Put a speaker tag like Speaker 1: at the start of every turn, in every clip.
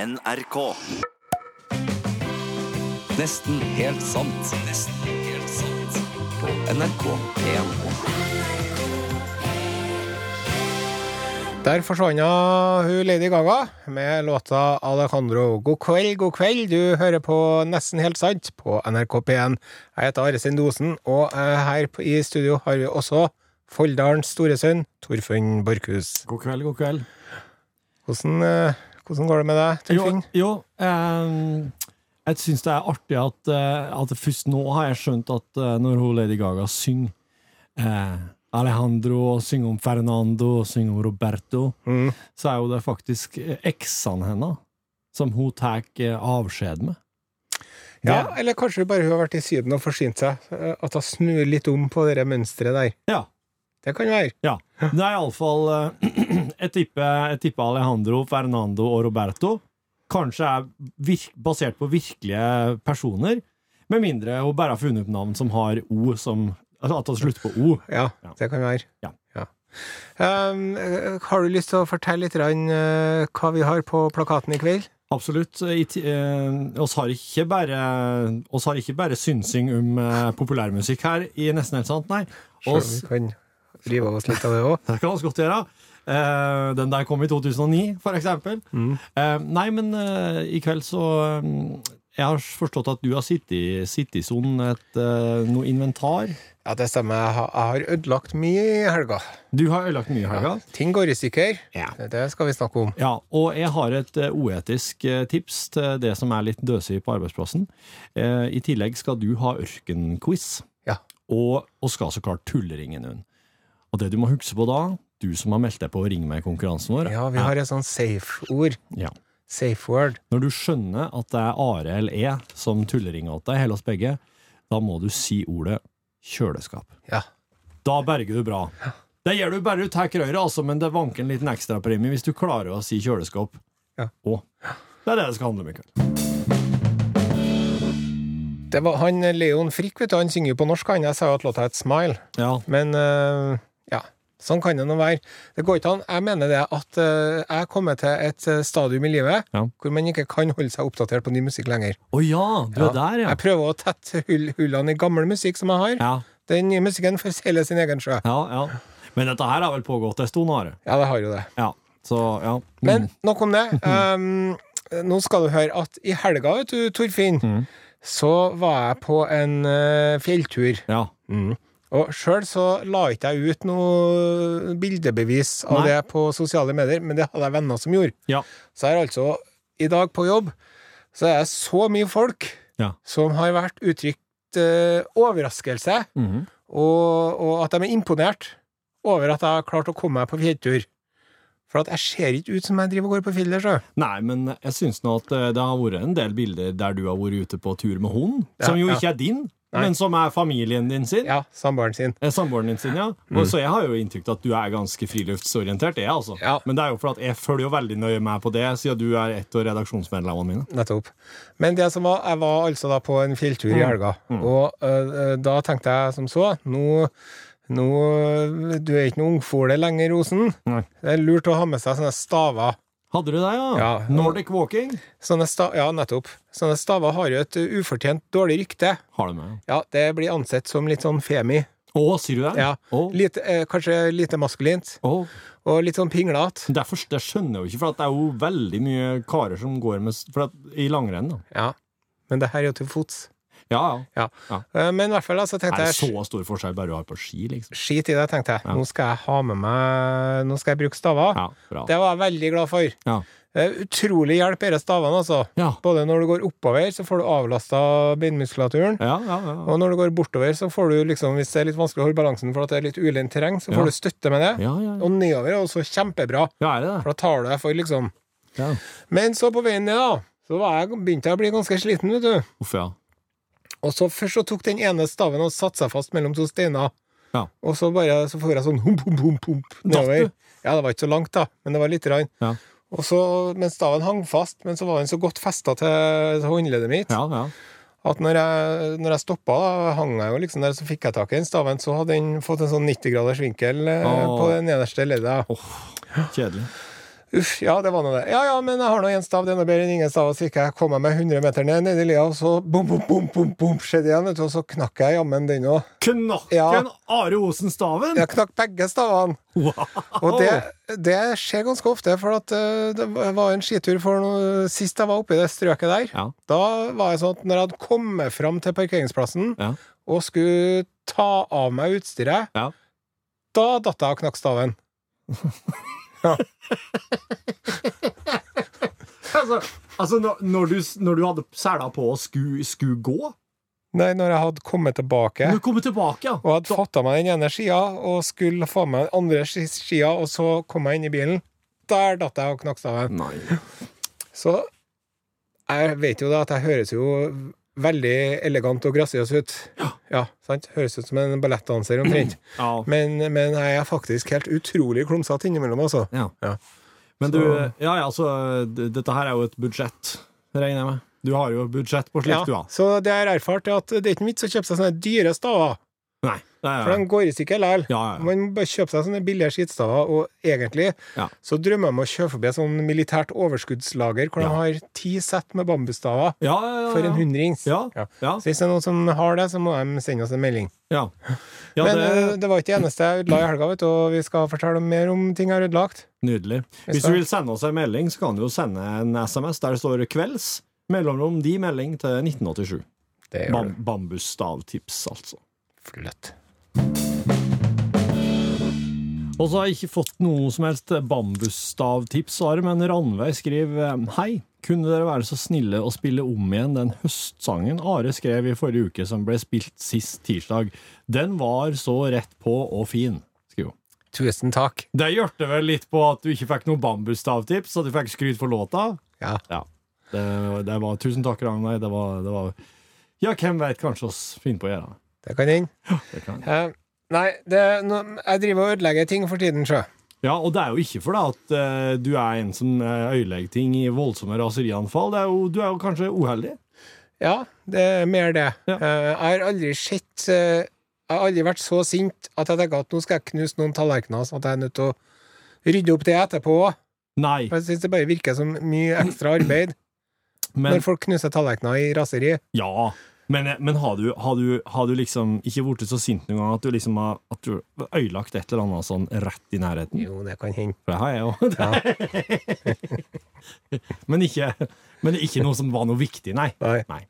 Speaker 1: NRK.
Speaker 2: Nesten helt sant. Nesten helt sant. På NRK1.
Speaker 3: Der forsvant hun Lady Gaga med låta Alejandro. God kveld, god kveld. Du hører på Nesten helt sant på NRK P1. Jeg heter Are Sendosen, og eh, her på- i studio har vi også Folldalens store sønn, Torfinn Borchhus.
Speaker 4: God kveld, god kveld.
Speaker 3: Hvordan, eh, hvordan går det med deg,
Speaker 4: Jo,
Speaker 3: Torfinn?
Speaker 4: jo ehm, jeg syns det er artig at, eh, at først nå har jeg skjønt at eh, når hun Lady Gaga synger eh, Alejandro, synger om Fernando, synger om Roberto,
Speaker 3: Mm.
Speaker 4: så er jo det faktisk eh, eksene hennes som hun tar eh, avskjed med.
Speaker 3: Ja,
Speaker 4: Det-
Speaker 3: eller kanskje bare hun har vært i Syden og forsynt seg? eh, At hun snur litt om på det mønsteret der.
Speaker 4: Ja.
Speaker 3: Det kan være.
Speaker 4: Ja. Det er iallfall eh, Jeg tipper jeg tipper Alejandro, Fernando og Roberto. Kanskje er virk, basert på virkelige personer. Med mindre hun bare har funnet opp navn som har O som altså At det slutter på O.
Speaker 3: Ja,
Speaker 4: Ja.
Speaker 3: det kan være.
Speaker 4: Ja.
Speaker 3: Um, eh, har du lyst til å fortelle litt grann, eh, hva vi har på plakaten i kveld?
Speaker 4: Absolutt. I ti- eh, oss har ikke bare oss har ikke bare synsing om eh, populærmusikk her i Nesten helt sant, nei.
Speaker 3: Selv om
Speaker 4: Oss,
Speaker 3: vi kan rive av oss litt av det òg.
Speaker 4: Det kan vi godt gjøre. Eh, den der kom i 2009, for eksempel. Eh, nei, men eh, i kveld så eh, Jeg har forstått at du har sittet i sittet i sonen et eh, noe inventar.
Speaker 3: Ja, det stemmer. Jeg har- Jeg har ødelagt mye i helga.
Speaker 4: Du har ødelagt mye i helga.
Speaker 3: Ting går i stykker.
Speaker 4: Ja.
Speaker 3: Det skal vi snakke om.
Speaker 4: Ja, og jeg har et eh, oetisk eh, tips til det som er litt døsig på arbeidsplassen. Eh, I tillegg skal du ha ørkenquiz,
Speaker 3: Ja.
Speaker 4: og, og skal så klart tulleringen hun. Og det du må huske på da, du som har meldt deg på å ringe meg i konkurransen vår,
Speaker 3: Ja, vi har et sånt safe-ord.
Speaker 4: ja.
Speaker 3: Safe word.
Speaker 4: Når du skjønner at det er Are eller E som tulleringer til deg, hele oss begge, da må du si ordet kjøleskap.
Speaker 3: Ja.
Speaker 4: Da berger du bra. Det gjør du bare du tar røret, altså, men det vanker en liten ekstrapremie hvis du klarer å si kjøleskap.
Speaker 3: Ja.
Speaker 4: Og det er det det skal handle om i kveld.
Speaker 3: Det var han eh, Leon Frikk, vet du. Han synger jo på norsk, han. Jeg sa jo at låta het Smile.
Speaker 4: Ja.
Speaker 3: Men eh, ja, sånn kan det nå være. Det går ikke an. Jeg mener det at eh, jeg kommer til et eh, stadium i livet
Speaker 4: Ja.
Speaker 3: hvor man ikke kan holde seg oppdatert på ny musikk lenger.
Speaker 4: Å ja, du er der, ja.
Speaker 3: Jeg prøver å tette hull, hullene i gammel musikk som jeg har.
Speaker 4: ja.
Speaker 3: Den nye musikken får seile sin egen sjø.
Speaker 4: Ja, ja. Men dette her har vel pågått en stund, Are.
Speaker 3: Ja, det har jo det.
Speaker 4: Ja. Så, ja. Mm.
Speaker 3: Men nok om det. Um, nå skal du høre at i helga, vet du, Torfinn,
Speaker 4: Mm.
Speaker 3: så var jeg på en eh, fjelltur.
Speaker 4: Mm. Ja.
Speaker 3: Mm. Og sjøl så la ikke jeg ut noe bildebevis av
Speaker 4: Nei.
Speaker 3: det på sosiale medier, men det hadde jeg venner som gjorde.
Speaker 4: Ja.
Speaker 3: Så jeg er altså i dag på jobb, så er det så mye folk
Speaker 4: Ja.
Speaker 3: som har vært uttrykt eh, overraskelse,
Speaker 4: Mhm.
Speaker 3: og, og at de er imponert over at jeg har klart å komme meg på fjelltur. For at jeg ser ikke ut som jeg driver og går på fjellet sjøl.
Speaker 4: Nei, men jeg syns nå at eh, det har vært en del bilder der du har vært ute på tur med hunden, som jo
Speaker 3: ja.
Speaker 4: ikke er din,
Speaker 3: Nei.
Speaker 4: men som er familien din sin.
Speaker 3: Ja, Mm. samboeren sin.
Speaker 4: Eh, Samboeren din sin, ja. Og så jeg har jo inntrykk av at du er ganske friluftsorientert, jeg, altså.
Speaker 3: Ja.
Speaker 4: Men det er jo for at jeg følger jo veldig nøye med på det, siden du er et av redaksjonsmedlemmene mine.
Speaker 3: Nettopp. Men det som var, jeg var altså da på en fjelltur
Speaker 4: Mm.
Speaker 3: i helga, og eh, da tenkte jeg som så nå, nå Du er ikke noen ungfole lenger, Osen.
Speaker 4: Nei.
Speaker 3: Det er lurt å ha med seg sånne staver.
Speaker 4: Hadde du det, ja?
Speaker 3: Ja.
Speaker 4: Nordic Walking
Speaker 3: Sånne sta ja, nettopp. Sånne staver har jo et eh, ufortjent dårlig rykte.
Speaker 4: har du med.
Speaker 3: Ja, det blir ansett som litt sånn femi.
Speaker 4: Å, sier du det?
Speaker 3: Ja.
Speaker 4: Å,
Speaker 3: Lite, eh, kanskje lite maskulint,
Speaker 4: å.
Speaker 3: og litt sånn pinglete.
Speaker 4: Det, er først, det skjønner jeg jo ikke, for at det er jo veldig mye karer som går med, s- for at, i langrenn. Da.
Speaker 3: Ja. Men det her er jo til fots.
Speaker 4: Ja, ja.
Speaker 3: Ja.
Speaker 4: Ja.
Speaker 3: Eh, Men i hvert fall, da, så
Speaker 4: Er
Speaker 3: tenkte
Speaker 4: det
Speaker 3: jeg
Speaker 4: så stor forskjell bare du har på ski, liksom?
Speaker 3: Skit i det, tenkte jeg. Nå skal jeg ha med meg Nå skal jeg bruke staver.
Speaker 4: Ja, bra.
Speaker 3: Det var jeg veldig glad for.
Speaker 4: Ja.
Speaker 3: Det er Utrolig hjelp, disse stavene, altså.
Speaker 4: Ja.
Speaker 3: Både når du går oppover, så får du avlasta bindmuskulaturen.
Speaker 4: Ja, ja, ja.
Speaker 3: Og når du går bortover, så får du liksom, hvis det er litt vanskelig å holde balansen for at det er litt ulendt terreng, så
Speaker 4: Ja.
Speaker 3: får du støtte med det.
Speaker 4: Ja, ja, ja.
Speaker 3: Og nedover er også kjempebra,
Speaker 4: ja, er det det?
Speaker 3: for da tar du deg for, liksom.
Speaker 4: Ja.
Speaker 3: Men så på veien ned, da, så var jeg, begynte jeg å bli ganske sliten, vet du.
Speaker 4: Uff, ja.
Speaker 3: Og så først så tok den ene staven og satte seg fast mellom to steiner.
Speaker 4: Ja.
Speaker 3: Og så bare så får jeg sånn hump, hump, hump, hump
Speaker 4: Datt
Speaker 3: nedover.
Speaker 4: du?
Speaker 3: Ja, det var ikke så langt, da, men det var lite grann.
Speaker 4: Ja.
Speaker 3: Og så, men staven hang fast, men så var den så godt festa til til håndleddet mitt
Speaker 4: Ja, ja.
Speaker 3: at når jeg, når jeg stoppa, da hang jeg jo liksom der, så fikk jeg tak i den staven. Så hadde den fått en sånn 90-graders vinkel eh,
Speaker 4: Åh.
Speaker 3: på det nederste leddet.
Speaker 4: Kjedelig.
Speaker 3: Uff, ja, det var nå det. Ja, ja, men jeg har nå én stav, det er noe bedre enn ingen stav. Og så gikk jeg kom jeg meg 100 meter ned nedi lia, og så bom, bom, bom, bom, bom, skjedde igjen, vet du, og så knakk jeg jammen den òg.
Speaker 4: Knakken
Speaker 3: Ja.
Speaker 4: Are Osen-staven!
Speaker 3: Jeg knakk begge stavene. Og det, det skjer ganske ofte, for at eh, det var en skitur for noe Sist jeg var oppe i det strøket der,
Speaker 4: Ja.
Speaker 3: da var jeg sånn at når jeg hadde kommet fram til parkeringsplassen
Speaker 4: Ja.
Speaker 3: og skulle ta av meg utstyret,
Speaker 4: Ja.
Speaker 3: da datt jeg og knakk staven.
Speaker 4: Altså, altså når, når, du, når du hadde sela på og skulle skulle gå
Speaker 3: Nei, når jeg hadde kommet tilbake
Speaker 4: Du kommer tilbake, ja.
Speaker 3: og hadde fatta meg den ene skia og skulle få meg den andre ski- skia, og så kom jeg inn i bilen. Der datt jeg og knakk staven.
Speaker 4: Nei.
Speaker 3: Så jeg vet jo da at jeg høres jo veldig elegant og grasiøs ut. Ja. sant? Høres ut som en ballettdanser omtrent.
Speaker 4: Ja.
Speaker 3: Men, men jeg er faktisk helt utrolig klumsete innimellom, altså.
Speaker 4: ja.
Speaker 3: Ja.
Speaker 4: Men du Ja, ja, altså, d- dette her er jo et budsjett, regner jeg med. Du har jo budsjett på slikt, du, ja.
Speaker 3: Så det jeg har erfart, er at det er ikke vits å kjøpe seg sånne dyre staver,
Speaker 4: Nei. Det er,
Speaker 3: for de går i stykker likevel.
Speaker 4: ja, ja, ja.
Speaker 3: Man må bare kjøpe seg sånne billige skittstaver, og egentlig
Speaker 4: Ja.
Speaker 3: så drømmer jeg om å kjøpe forbi et sånn militært overskuddslager hvor
Speaker 4: Ja.
Speaker 3: de har ti sett med bambusstaver
Speaker 4: Ja, ja, ja,
Speaker 3: for en
Speaker 4: ja.
Speaker 3: hundrings.
Speaker 4: Ja,
Speaker 3: Ja.
Speaker 4: ja,
Speaker 3: Så hvis det er noen som har det, så må de sende oss en melding.
Speaker 4: ja. ja
Speaker 3: Men
Speaker 4: det,
Speaker 3: eh, det var ikke det eneste jeg ødela i helga, vet du, og vi skal fortelle mer om ting jeg har ødelagt.
Speaker 4: Nydelig. Hvis du vil sende oss en melding, så kan du jo sende en SMS der det står 'kvelds'. Mellomrom de melding til 1987.
Speaker 3: Det
Speaker 4: Bam Bambusstavtips, altså.
Speaker 3: fløtt.
Speaker 4: Og så har jeg ikke fått noe som helst eh, bambusstavtips, Are, men Ranveig skriver eh, Hei, kunne dere være så snille å spille om igjen den høstsangen Are skrev i forrige uke, som ble spilt sist tirsdag? Den var så rett på og fin, skriver hun.
Speaker 3: Tusen takk.
Speaker 4: Det hørte vel litt på at du ikke fikk noe bambusstavtips, så du fikk skryt for låta?
Speaker 3: Ja.
Speaker 4: Ja. Det, det var Tusen takk, Ranveig. Det var, det var Ja, hvem veit, kanskje oss finner på å gjøre det.
Speaker 3: Det kan hende.
Speaker 4: det. Kan.
Speaker 3: Eh, nei, det, nå- jeg driver og ødelegger ting for tiden, sjø.
Speaker 4: Ja, og det er jo ikke fordi at eh, du er en som uh, øyelegger ting i voldsomme raserianfall. Det er jo, du er jo kanskje uheldig.
Speaker 3: Ja, det er mer det.
Speaker 4: Ja.
Speaker 3: Eh, jeg har aldri sett eh, Jeg har aldri vært så sint at jeg tenker at nå skal jeg knuse noen tallerkener, sånn at jeg er nødt til å rydde opp det etterpå òg.
Speaker 4: Nei,
Speaker 3: Jeg syns det bare virker som mye ekstra arbeid
Speaker 4: men
Speaker 3: når folk knuser tallerkener i raseri.
Speaker 4: Ja. Men, eh, men har, du, har, du, har du liksom ikke blitt så sint noen gang at du liksom har at du har øyelagt et eller annet sånn rett i nærheten?
Speaker 3: Jo, det kan hende.
Speaker 4: For det har jeg jo. men, ikke, men ikke noe som var noe viktig, nei.
Speaker 3: Nei.
Speaker 4: Nei.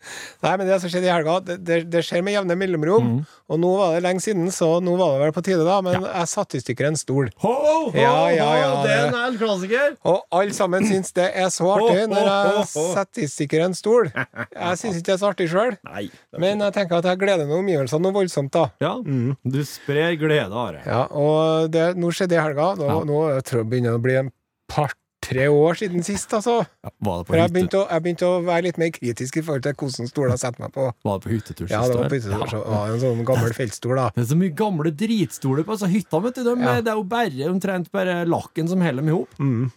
Speaker 3: Nei, men det som skjedde i helga, det, det, det skjer med jevne mellomrom.
Speaker 4: Mm.
Speaker 3: Og nå var det lenge siden, så nå var det vel på tide, da. Men jeg satte i stykker en stol.
Speaker 4: Ho, ho, ho,
Speaker 3: Ja, ja, ja,
Speaker 4: ho, den
Speaker 3: det-
Speaker 4: er en klassiker!
Speaker 3: Og alle sammen syns det er så artig
Speaker 4: Ho, ho,
Speaker 3: når
Speaker 4: ho, ho.
Speaker 3: jeg setter i stykker en stol. Jeg syns ikke det er så artig sjøl.
Speaker 4: Nei.
Speaker 3: Men Mm. jeg tenker at jeg gleder meg omgivelsene noe voldsomt, da.
Speaker 4: Ja, du sprer glede, Are.
Speaker 3: Ja, og det, nå skjedde det i helga. Nå,
Speaker 4: Ja.
Speaker 3: nå tror jeg det begynner å bli en par-tre år siden sist, altså.
Speaker 4: Ja, var det på
Speaker 3: For jeg
Speaker 4: hytte-
Speaker 3: begynte, å, jeg begynte å være litt mer kritisk i forhold til hvordan stolen jeg setter meg på.
Speaker 4: Var det på hyttetur
Speaker 3: Ja,
Speaker 4: sist
Speaker 3: det var
Speaker 4: år?
Speaker 3: byttet,
Speaker 4: Ja.
Speaker 3: så, det var en sånn gammel feltstol, da.
Speaker 4: Det er så mye gamle dritstoler på altså, hytta, vet du. De,
Speaker 3: Ja.
Speaker 4: Det er jo bare omtrent bare lakken som holder dem i hop.
Speaker 3: Mm.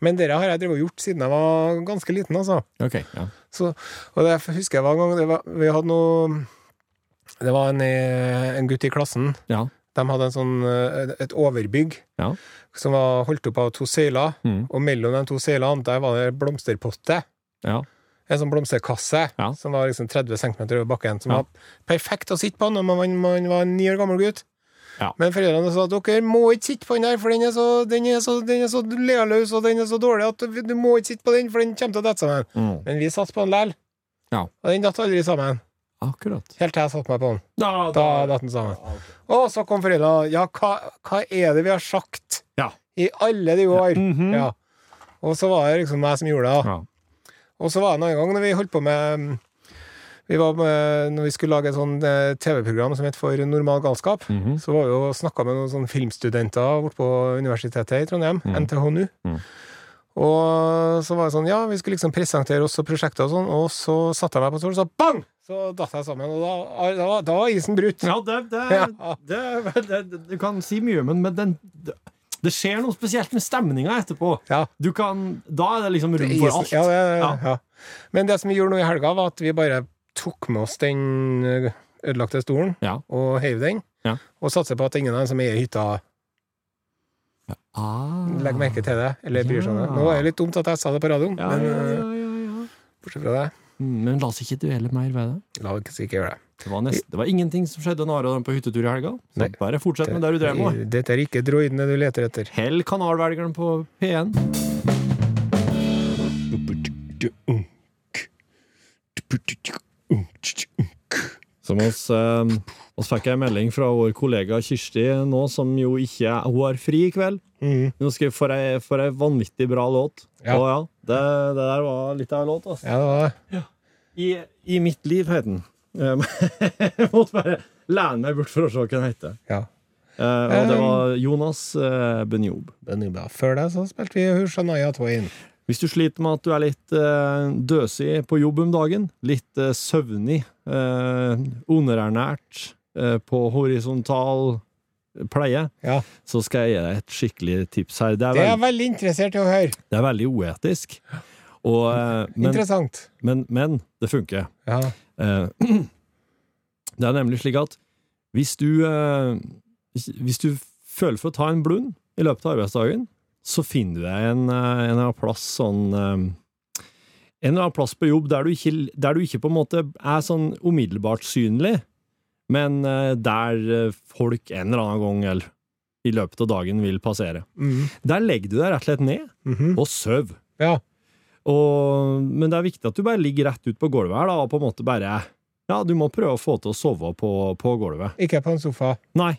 Speaker 3: Men det har jeg drevet og gjort siden jeg var ganske liten, altså.
Speaker 4: Ok, ja.
Speaker 3: Så, og det jeg husker jeg var en gang det var, Vi hadde noe Det var en, i- en gutt i klassen.
Speaker 4: ja.
Speaker 3: De hadde en sånn, eh, et overbygg
Speaker 4: Ja.
Speaker 3: som var holdt opp av to søyler,
Speaker 4: Mm.
Speaker 3: og mellom de to søylene der var det blomsterpotte.
Speaker 4: Ja.
Speaker 3: En sånn blomsterkasse
Speaker 4: Ja.
Speaker 3: som var liksom 30 cm over bakken, som
Speaker 4: Ja.
Speaker 3: var perfekt å sitte på når man, man var en ni år gammel gutt.
Speaker 4: Ja.
Speaker 3: Men foreldrene sa at dere må ikke sitte på den der, for den er så, den er så, den er så lealøs og den er så dårlig at du må ikke sitte på den, for den kommer til å dette sammen.
Speaker 4: Mm.
Speaker 3: Men vi satt på den likevel.
Speaker 4: Ja.
Speaker 3: Og den datt aldri sammen.
Speaker 4: Akkurat.
Speaker 3: Helt til jeg satte meg på den.
Speaker 4: Da,
Speaker 3: Da datt den sammen. Og så kom foreldrene. Ja, hva, hva er det vi har sagt
Speaker 4: Ja.
Speaker 3: i alle de år?
Speaker 4: Mhm.
Speaker 3: Ja. Og så var det liksom meg som gjorde det. da.
Speaker 4: Ja.
Speaker 3: Og så var det en annen gang når vi holdt på med mm, vi var med, Når vi skulle lage et sånt eh, TV-program som het For normal galskap,
Speaker 4: Mhm.
Speaker 3: så var vi og snakka med noen sånne filmstudenter borte på Universitetet i Trondheim, NTH NTHNU.
Speaker 4: Mhm.
Speaker 3: Og så var det sånn, ja, vi skulle liksom presentere oss og prosjektet og sånn, og så satte jeg meg på stolen, så bang! Så datt jeg sammen, og da, da, da var isen brutt.
Speaker 4: Ja, det, det,
Speaker 3: Ja.
Speaker 4: det, det, det Du kan si mye, men, men den, det, det skjer noe spesielt med stemninga etterpå.
Speaker 3: Ja.
Speaker 4: Du kan, da er det liksom rom
Speaker 3: Isen-
Speaker 4: for alt.
Speaker 3: Ja, det, ja.
Speaker 4: Ja.
Speaker 3: Men det som vi gjorde nå i helga, var at vi bare tok med oss den eh, ødelagte stolen
Speaker 4: Ja.
Speaker 3: og heiv den,
Speaker 4: Ja.
Speaker 3: og satser på at ingen av dem som eier hytta,
Speaker 4: Ah.
Speaker 3: Legg merke til det, eller bryr seg om det.
Speaker 4: Ja.
Speaker 3: Nå er det litt dumt at jeg sa det på radioen,
Speaker 4: Ja,
Speaker 3: men
Speaker 4: ja,
Speaker 3: eh,
Speaker 4: ja, ja, ja.
Speaker 3: bortsett fra det,
Speaker 4: Mm, Men la oss ikke dvele mer ved det.
Speaker 3: la oss ikke gjøre det.
Speaker 4: Det var, nest, det var ingenting som skjedde når Are var på hyttetur i helga. Så
Speaker 3: Nei.
Speaker 4: bare fortsett med det du drev med.
Speaker 3: Dette er ikke droidene du leter etter.
Speaker 4: Hell kanalvelgeren på P1. Som oss, eh, oss fikk jeg en melding fra vår kollega Kirsti nå, som jo ikke er- Hun har fri i kveld.
Speaker 3: Mhm.
Speaker 4: Nå skal jeg få ei, for ei vanvittig bra låt.
Speaker 3: Ja.
Speaker 4: Å, ja. Det, det der var litt av en låt, altså.
Speaker 3: Ja, det var det.
Speaker 4: I, I mitt liv, het den. Um, jeg måtte bare lene meg bort for å se hva den heter.
Speaker 3: Ja.
Speaker 4: Eh, og det var Jonas uh, Benjob.
Speaker 3: Men det er bra. Før det så spilte vi Hushanaya Twain.
Speaker 4: Hvis du sliter med at du er litt eh, døsig på jobb om dagen, litt eh, søvnig, eh, underernært, eh, på horisontal eh, pleie,
Speaker 3: Ja.
Speaker 4: så skal jeg gi deg et skikkelig tips her. Det er,
Speaker 3: Det er
Speaker 4: vel-
Speaker 3: jeg veldig interessert i å høre.
Speaker 4: det er veldig oetisk, og, eh, men,
Speaker 3: Interessant.
Speaker 4: men, men det funker.
Speaker 3: Ja.
Speaker 4: Eh, Det er nemlig slik at hvis du, eh, hvis hvis du føler for å ta en blund i løpet av arbeidsdagen, så finner du deg en, eh, en eller annen plass sånn eh, En eller annen plass på jobb der du ikke, der du ikke på en måte er sånn umiddelbart synlig, men eh, der eh, folk en eller annen gang eller i løpet av dagen vil passere.
Speaker 3: Mhm.
Speaker 4: Der legger du deg rett og slett ned
Speaker 3: Mhm.
Speaker 4: og sover.
Speaker 3: ja.
Speaker 4: Og, men det er viktig at du bare ligger rett ut på gulvet her, da, og på en måte bare Ja, du må prøve å få til å sove på, på gulvet.
Speaker 3: Ikke på en sofa.
Speaker 4: Nei,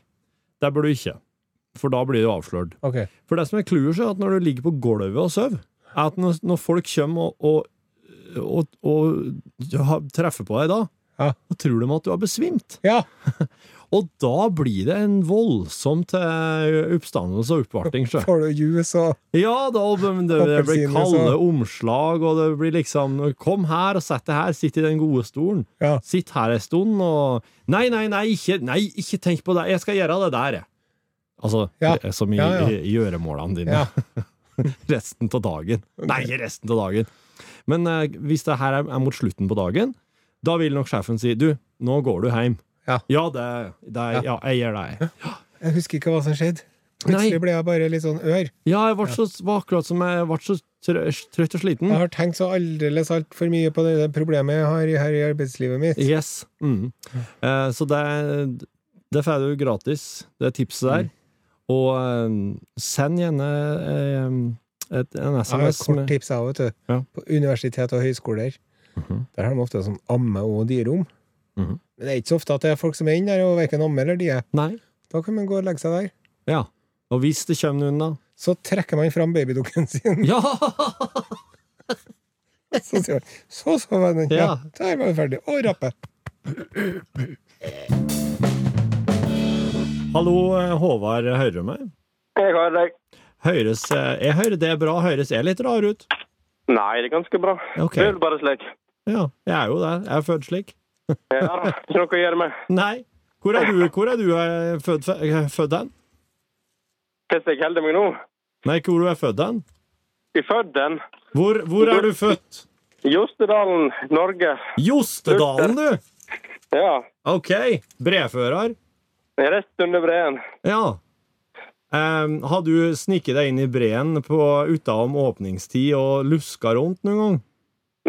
Speaker 4: det bør du ikke. For da blir du avslørt.
Speaker 3: Ok.
Speaker 4: For det som er clouet, er at når du ligger på gulvet og sover, er at når, når folk kommer og, og, og, og har- treffer på deg da,
Speaker 3: Ja.
Speaker 4: da tror de at du har besvimt.
Speaker 3: Ja.
Speaker 4: Og da blir det en voldsom til oppstandelse og oppvarting. sjø.
Speaker 3: Får du jus og
Speaker 4: Ja, da, men det, det blir
Speaker 3: Appelsiner,
Speaker 4: kalde
Speaker 3: så-
Speaker 4: omslag, og det blir liksom Kom her og sett deg her, sitt i den gode stolen.
Speaker 3: Ja.
Speaker 4: Sitt her en stund, og Nei, nei, nei, ikke, nei, ikke tenk på det, jeg skal gjøre det der, jeg. Altså,
Speaker 3: Ja.
Speaker 4: eh, som i,
Speaker 3: Ja, ja.
Speaker 4: i, i gjøremålene dine.
Speaker 3: Ja.
Speaker 4: resten av dagen. Nei, ikke resten av dagen. Men eh, hvis det her er, er mot slutten på dagen, da vil nok sjefen si Du, nå går du hjem.
Speaker 3: Ja.
Speaker 4: det, det ja. jeg gjør det, jeg.
Speaker 3: Jeg husker ikke hva som skjedde.
Speaker 4: Nei.
Speaker 3: Plutselig ble jeg bare litt sånn ør.
Speaker 4: Ja, jeg ble så var akkurat som jeg ble så trø- trøtt og sliten.
Speaker 3: Jeg har tenkt så aldeles altfor mye på det det problemet jeg har i- her i arbeidslivet mitt.
Speaker 4: Yes. Mm. Eh, så det, det får du gratis, det tipset der. Og eh, send gjerne eh, et, en
Speaker 3: Jeg har
Speaker 4: SMS
Speaker 3: et kort
Speaker 4: med
Speaker 3: tips jeg, vet du.
Speaker 4: Ja.
Speaker 3: På universitet og høyskoler Der har de ofte sånn amme- og dirom.
Speaker 4: Mhm.
Speaker 3: Men det er ikke så ofte at det er folk som er inne der og verken ammer eller dier.
Speaker 4: Nei.
Speaker 3: Da kan man gå og legge seg der.
Speaker 4: Ja. Og hvis det kommer noen, da
Speaker 3: Så trekker man fram babydukken sin,
Speaker 4: Ja!
Speaker 3: så sier man 'så så var den'.
Speaker 4: Ja.
Speaker 3: Ja, der var vi ferdig. Og rappe.
Speaker 4: Hallo, eh, Håvard, hører du meg?
Speaker 1: Jeg hører deg.
Speaker 4: Høres, eh, jeg hører det er bra. Høres jeg litt rar ut?
Speaker 1: Nei, det er ganske bra.
Speaker 4: Ok.
Speaker 1: Det er vel bare slik.
Speaker 4: Ja, jeg er jo det. Jeg er født slik.
Speaker 1: Ja, da. Ikke noe å gjøre med.
Speaker 4: Nei. Hvor er du, hvor er du eh, født, fe- født hen?
Speaker 1: Hvordan jeg holder meg nå?
Speaker 4: Nei, ikke hvor du er født hen.
Speaker 1: I Fødden,
Speaker 4: Hvor, hvor er du født?
Speaker 1: Jostedalen, Norge.
Speaker 4: Jostedalen, du!
Speaker 1: Ja.
Speaker 4: Ok, brefører.
Speaker 1: Rett under breen.
Speaker 4: Ja. Ehm, har du sniket deg inn i breen på utenom åpningstid og luska rundt noen gang?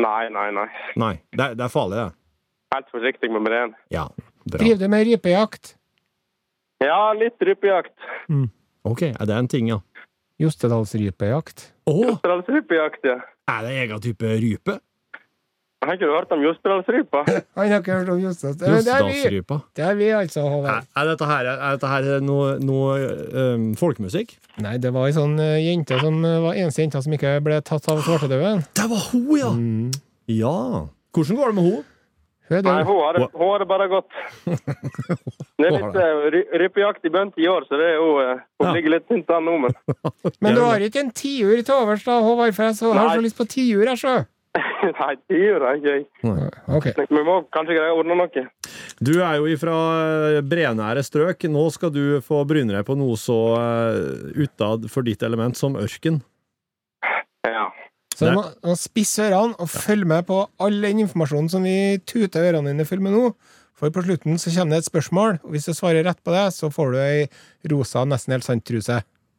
Speaker 1: Nei, nei, nei.
Speaker 4: Nei, det, det er farlig, det.
Speaker 1: Helt forsiktig med breen.
Speaker 4: Ja, bra.
Speaker 3: Driver du med rypejakt?
Speaker 1: Ja, litt rypejakt.
Speaker 4: Ok, er det en ting, ja?
Speaker 3: Jostedalsrypejakt.
Speaker 4: Å,
Speaker 1: Jostedalsrypejakt, ja.
Speaker 4: er det egen type rype?
Speaker 1: Har ikke du hørt om Jostedalsrypa?
Speaker 3: Han har ikke hørt om Jostedals...
Speaker 4: Eh,
Speaker 3: Men Det er vi,
Speaker 4: Jostedalsrypa.
Speaker 3: det er vi altså,
Speaker 4: Er,
Speaker 3: Håvard.
Speaker 4: er dette her, er dette her noe, noe ehm, folkemusikk?
Speaker 3: Nei, det var ei sånn eh, jente som eh, var eneste jenta som ikke ble tatt av svartedauden.
Speaker 4: Det var hun, ja! Mm. Ja. Hvordan går det med hun?
Speaker 3: Hun er
Speaker 1: Nei,
Speaker 3: død.
Speaker 1: hun har,
Speaker 4: Hva?
Speaker 1: hun har det bare godt. Det er litt eh, ry- rypejakt i bønt i år, så det er jo eh, Hun
Speaker 4: Ja.
Speaker 1: ligger litt tynt an nå, men
Speaker 3: Men du har ikke en tiur til overs, da, Håvard? For jeg så, har
Speaker 1: Nei.
Speaker 3: så lyst på tiur, jeg, sjø.
Speaker 1: Nei, det gjør jeg ikke.
Speaker 3: Ok.
Speaker 1: Vi må kanskje greie å ordne noe.
Speaker 4: Du er jo ifra eh, brenære strøk. Nå skal du få bryne deg på noe så eh, utad for ditt element som ørken.
Speaker 1: Ja.
Speaker 3: Så
Speaker 4: Det-
Speaker 3: du må, du må spisse ørene og følg med på all den informasjonen som vi tuter ørene dine full med nå. For på slutten så kommer det et spørsmål, og hvis du svarer rett på det, så får du ei rosa nesten helt sant-truse.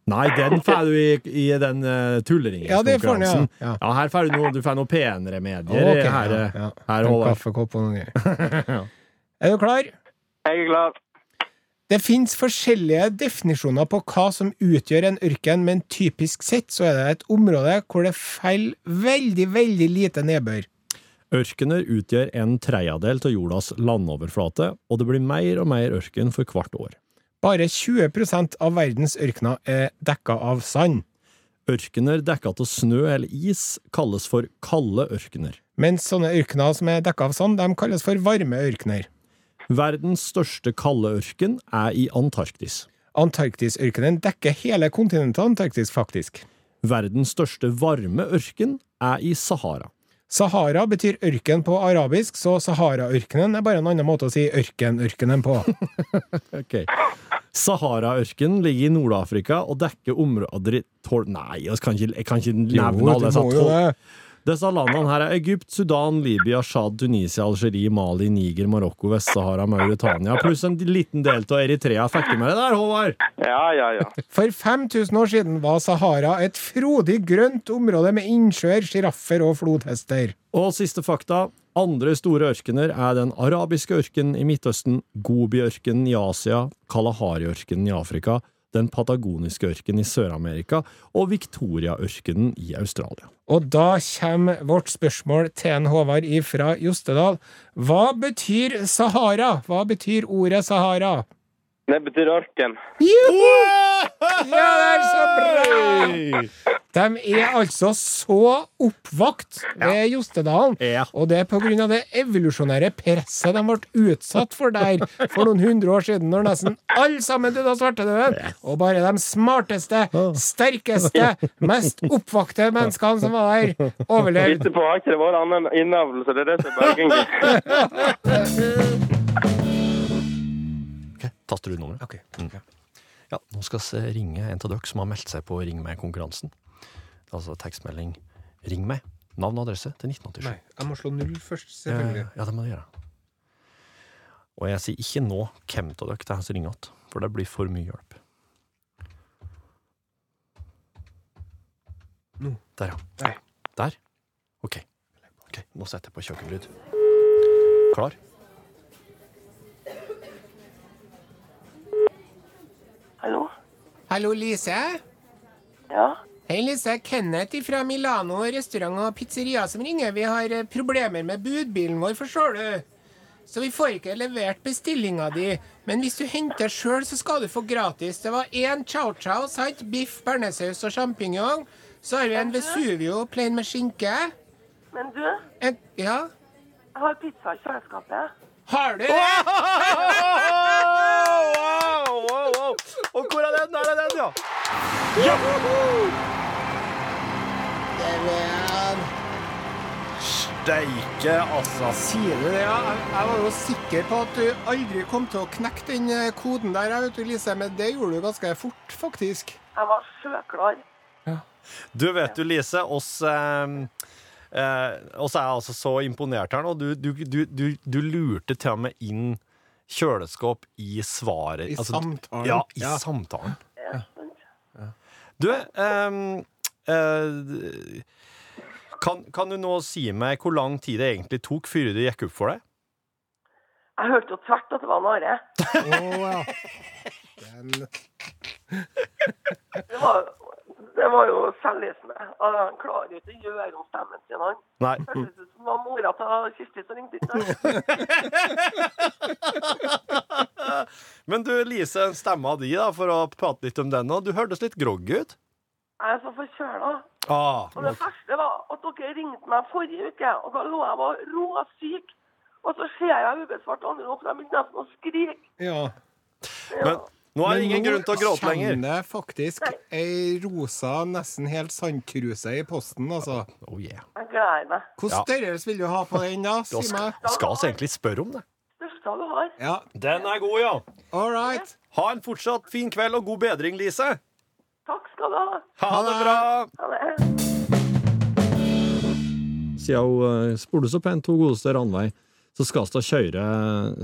Speaker 4: Nei, den får du i, i den uh,
Speaker 3: Ja, det får den, ja.
Speaker 4: tulleringeskonkurransen.
Speaker 3: Ja.
Speaker 4: Ja, her får du noe, du får noe penere medier.
Speaker 3: Ok,
Speaker 4: her,
Speaker 3: ja,
Speaker 4: eh,
Speaker 3: ja. En
Speaker 4: her holder
Speaker 3: kaffekopp og noen greier. Er du klar?
Speaker 1: Jeg er klar.
Speaker 3: Det finnes forskjellige definisjoner på hva som utgjør en ørken, men typisk sett så er det et område hvor det faller veldig, veldig lite nedbør.
Speaker 4: Ørkener utgjør en tredjedel av jordas landoverflate, og det blir mer og mer ørken for hvert år.
Speaker 3: Bare 20 av verdens ørkener er dekka av sand,
Speaker 4: Ørkener dekka av snø eller is kalles for kalde ørkener.
Speaker 3: mens sånne ørkener som er dekka av sand, de kalles for varme ørkener.
Speaker 4: Verdens største kalde ørken er i Antarktis.
Speaker 3: Antarktisørkenen dekker hele kontinentet Antarktis, faktisk.
Speaker 4: Verdens største varme ørken er i Sahara.
Speaker 3: Sahara betyr ørken på arabisk, så Saharaørkenen er bare en annen måte å si ørken-ørkenen på.
Speaker 4: Ok. Sahara-ørken ligger i Nord-Afrika og dekker områder i tolv Nei, jeg kan ikke, jeg kan ikke nevne alle disse tolv. Disse landene her er Egypt, Sudan, Libya, Tsjad, Tunisia, Algerie, Mali, Niger, Marokko, Vest-Sahara, Mauritania, pluss en liten del av Eritrea. Fikk du med deg der, Håvard?
Speaker 1: Ja, ja, ja.
Speaker 3: For 5000 år siden var Sahara et frodig grønt område med innsjøer, sjiraffer og flodhester.
Speaker 4: Og siste fakta. Andre store ørkener er den arabiske ørkenen i Midtøsten, Gobi-ørkenen i Asia, Kalahari-ørkenen i Afrika, den patagoniske ørkenen i Sør-Amerika og Victoria-ørkenen i Australia.
Speaker 3: Og da kommer vårt spørsmål til en Håvard ifra Jostedal. Hva betyr Sahara? Hva betyr ordet Sahara?
Speaker 1: Det betyr ørken.
Speaker 3: Juhu! Ja, det er så bra! De er altså så oppvakt ved Jostedalen.
Speaker 4: Ja.
Speaker 3: Og det er pga. det evolusjonære presset de ble utsatt for der for noen hundre år siden, når nesten alle sammen døde av svartedauden. Og bare de smarteste, sterkeste, mest oppvakte menneskene som var der, overlevde.
Speaker 1: Etterpå har ikke det vært annen innavl, så det er det som er bergingen.
Speaker 4: Taster du nummeret? Mm. Ja, nå skal vi ringe en av dere som har meldt seg på Ring meg-konkurransen. Altså tekstmelding 'Ring meg'. Navn og adresse til 1987.
Speaker 3: jeg må slå null først,
Speaker 4: Eh, ja, det må du gjøre. Og jeg sier ikke nå hvem av dere det er som ringer igjen, for det blir for mye hjelp. Der, ja.
Speaker 3: Der.
Speaker 4: Der? Ok. Ok, Nå setter jeg på kjøkkenlyd. Klar?
Speaker 5: Hallo?
Speaker 3: Hallo, Lise.
Speaker 5: Ja?
Speaker 3: Hei, Lise. Kenneth fra Milano restaurant og pizzeria som ringer. Vi har eh, problemer med budbilen vår, forstår du. Så vi får ikke levert bestillinga di. Men hvis du henter sjøl, så skal du få gratis. Det var én chow-chow, sant? Biff, bearnéssaus og sjampinjong. Så har vi en Vesuvio plain med skinke.
Speaker 5: Men du, jeg
Speaker 3: En, ja.
Speaker 5: har pizza i kjøleskapet.
Speaker 3: Har du det?
Speaker 4: Og hvor er den? Der er den, ja!
Speaker 6: Steike, altså.
Speaker 3: Sier du det, ja? Jeg, jeg var jo sikker på at du aldri kom til å knekke den eh, koden der, jeg vet du, Lise. Men det gjorde du ganske fort, faktisk.
Speaker 5: Jeg var sjøklar.
Speaker 4: Du vet du, Lise, oss eh, eh, oss er altså så imponert her nå. Du, du, du, du, du lurte til og med inn kjøleskap i svaret. Altså,
Speaker 3: I samtalen.
Speaker 4: Ja, i
Speaker 3: Ja.
Speaker 4: samtalen.
Speaker 5: sant.
Speaker 4: Du, ehm, eh, kan, kan du nå si meg hvor lang tid det egentlig tok før det gikk opp for deg?
Speaker 5: Jeg hørte jo tvert at det var en are. Det var, det var jo selvlysende. Og Han klarer jo ikke å gjøre om stemmen sin, han.
Speaker 4: Nei.
Speaker 5: Hørtes ut som det var mora til Kirsti som ringte inn der.
Speaker 4: Men du, Lise, stemma di, da, for å prate litt om den nå. Du hørtes litt groggy ut.
Speaker 5: Jeg er så forkjøla.
Speaker 4: Ah,
Speaker 5: Og det verste var at dere ringte meg forrige uke, og da lå jeg var råsyk. Og så ser jeg ubesvart anrop, og jeg begynte nesten å skrike.
Speaker 3: Ja.
Speaker 4: men nå er det ingen grunn til å gråte
Speaker 3: Nå
Speaker 4: lenger.
Speaker 3: kjenner jeg faktisk ei rosa, nesten helt sandkruse i posten, altså.
Speaker 4: Oh, yeah.
Speaker 5: Jeg gleder meg.
Speaker 3: Hvilken størrelse vil du ha på den, da? Si
Speaker 4: Da sk-
Speaker 3: meg.
Speaker 4: skal vi egentlig spørre om det.
Speaker 5: Største du har.
Speaker 3: Ja,
Speaker 4: Den er god, ja.
Speaker 3: all right.
Speaker 4: Ha en fortsatt fin kveld og god bedring, Lise.
Speaker 5: Takk skal du ha.
Speaker 4: Ha det bra.
Speaker 5: Ha det.
Speaker 4: Siden hun eh, spurte så pent hun godeste Ranveig, så skal vi da kjøre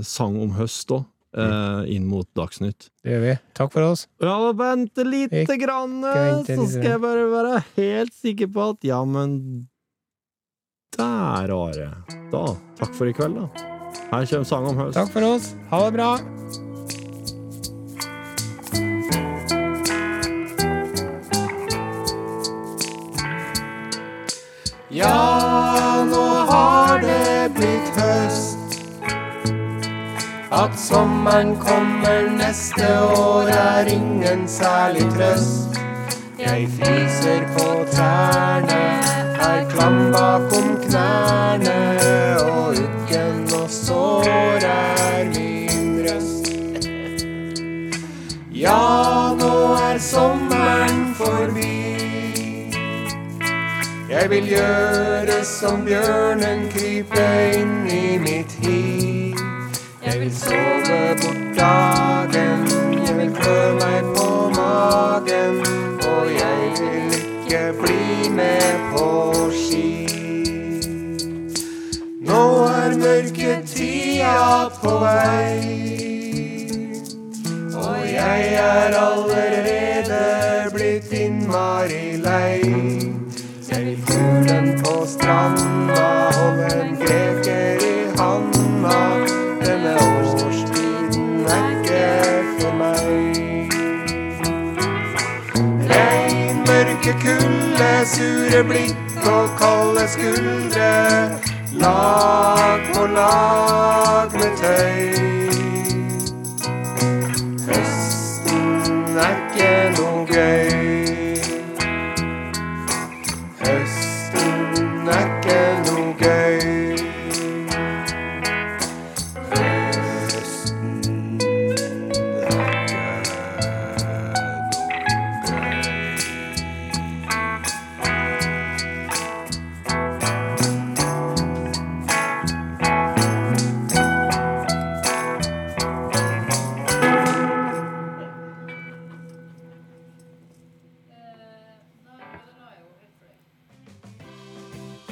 Speaker 4: sang om høst òg. eh, inn mot Dagsnytt.
Speaker 7: Det gjør vi. Takk for oss.
Speaker 4: Ja, vente lite
Speaker 7: Ikke
Speaker 4: grann,
Speaker 7: vente
Speaker 4: så
Speaker 7: lite
Speaker 4: skal
Speaker 7: grann.
Speaker 4: jeg bare være helt sikker på at Ja, men Der, Are. Da. Takk for i kveld, da. Her kommer sang om høst.
Speaker 7: Takk for oss. Ha det bra.
Speaker 3: Ja, nå har det blitt høst. At sommeren kommer neste år er ingen særlig trøst. Jeg fryser på tærne, er klam bakom knærne. Og uggen og sår er min røst. Ja, nå er sommeren forbi. Jeg vil gjøre som bjørnen, krype inn i mitt hi. Jeg vil sove bort dagen, jeg vil klø meg på magen. Og jeg vil ikke bli med på ski. Nå er mørketida på vei. Og jeg er allerede blitt innmari lei. Jeg vil fuglen på stranda, holde en greker i handa. Denne årstiden er ikke for meg. Regn, mørke kulde, sure blikk og kalde skuldre. Lag på lag med tøy. Høsten er ikke noe gøy. Høsten er ikke noe gøy. Høsten er ikke noe gøy.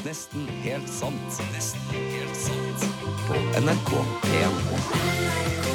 Speaker 2: Nesten helt sant. Nesten helt sant. På NRK P1.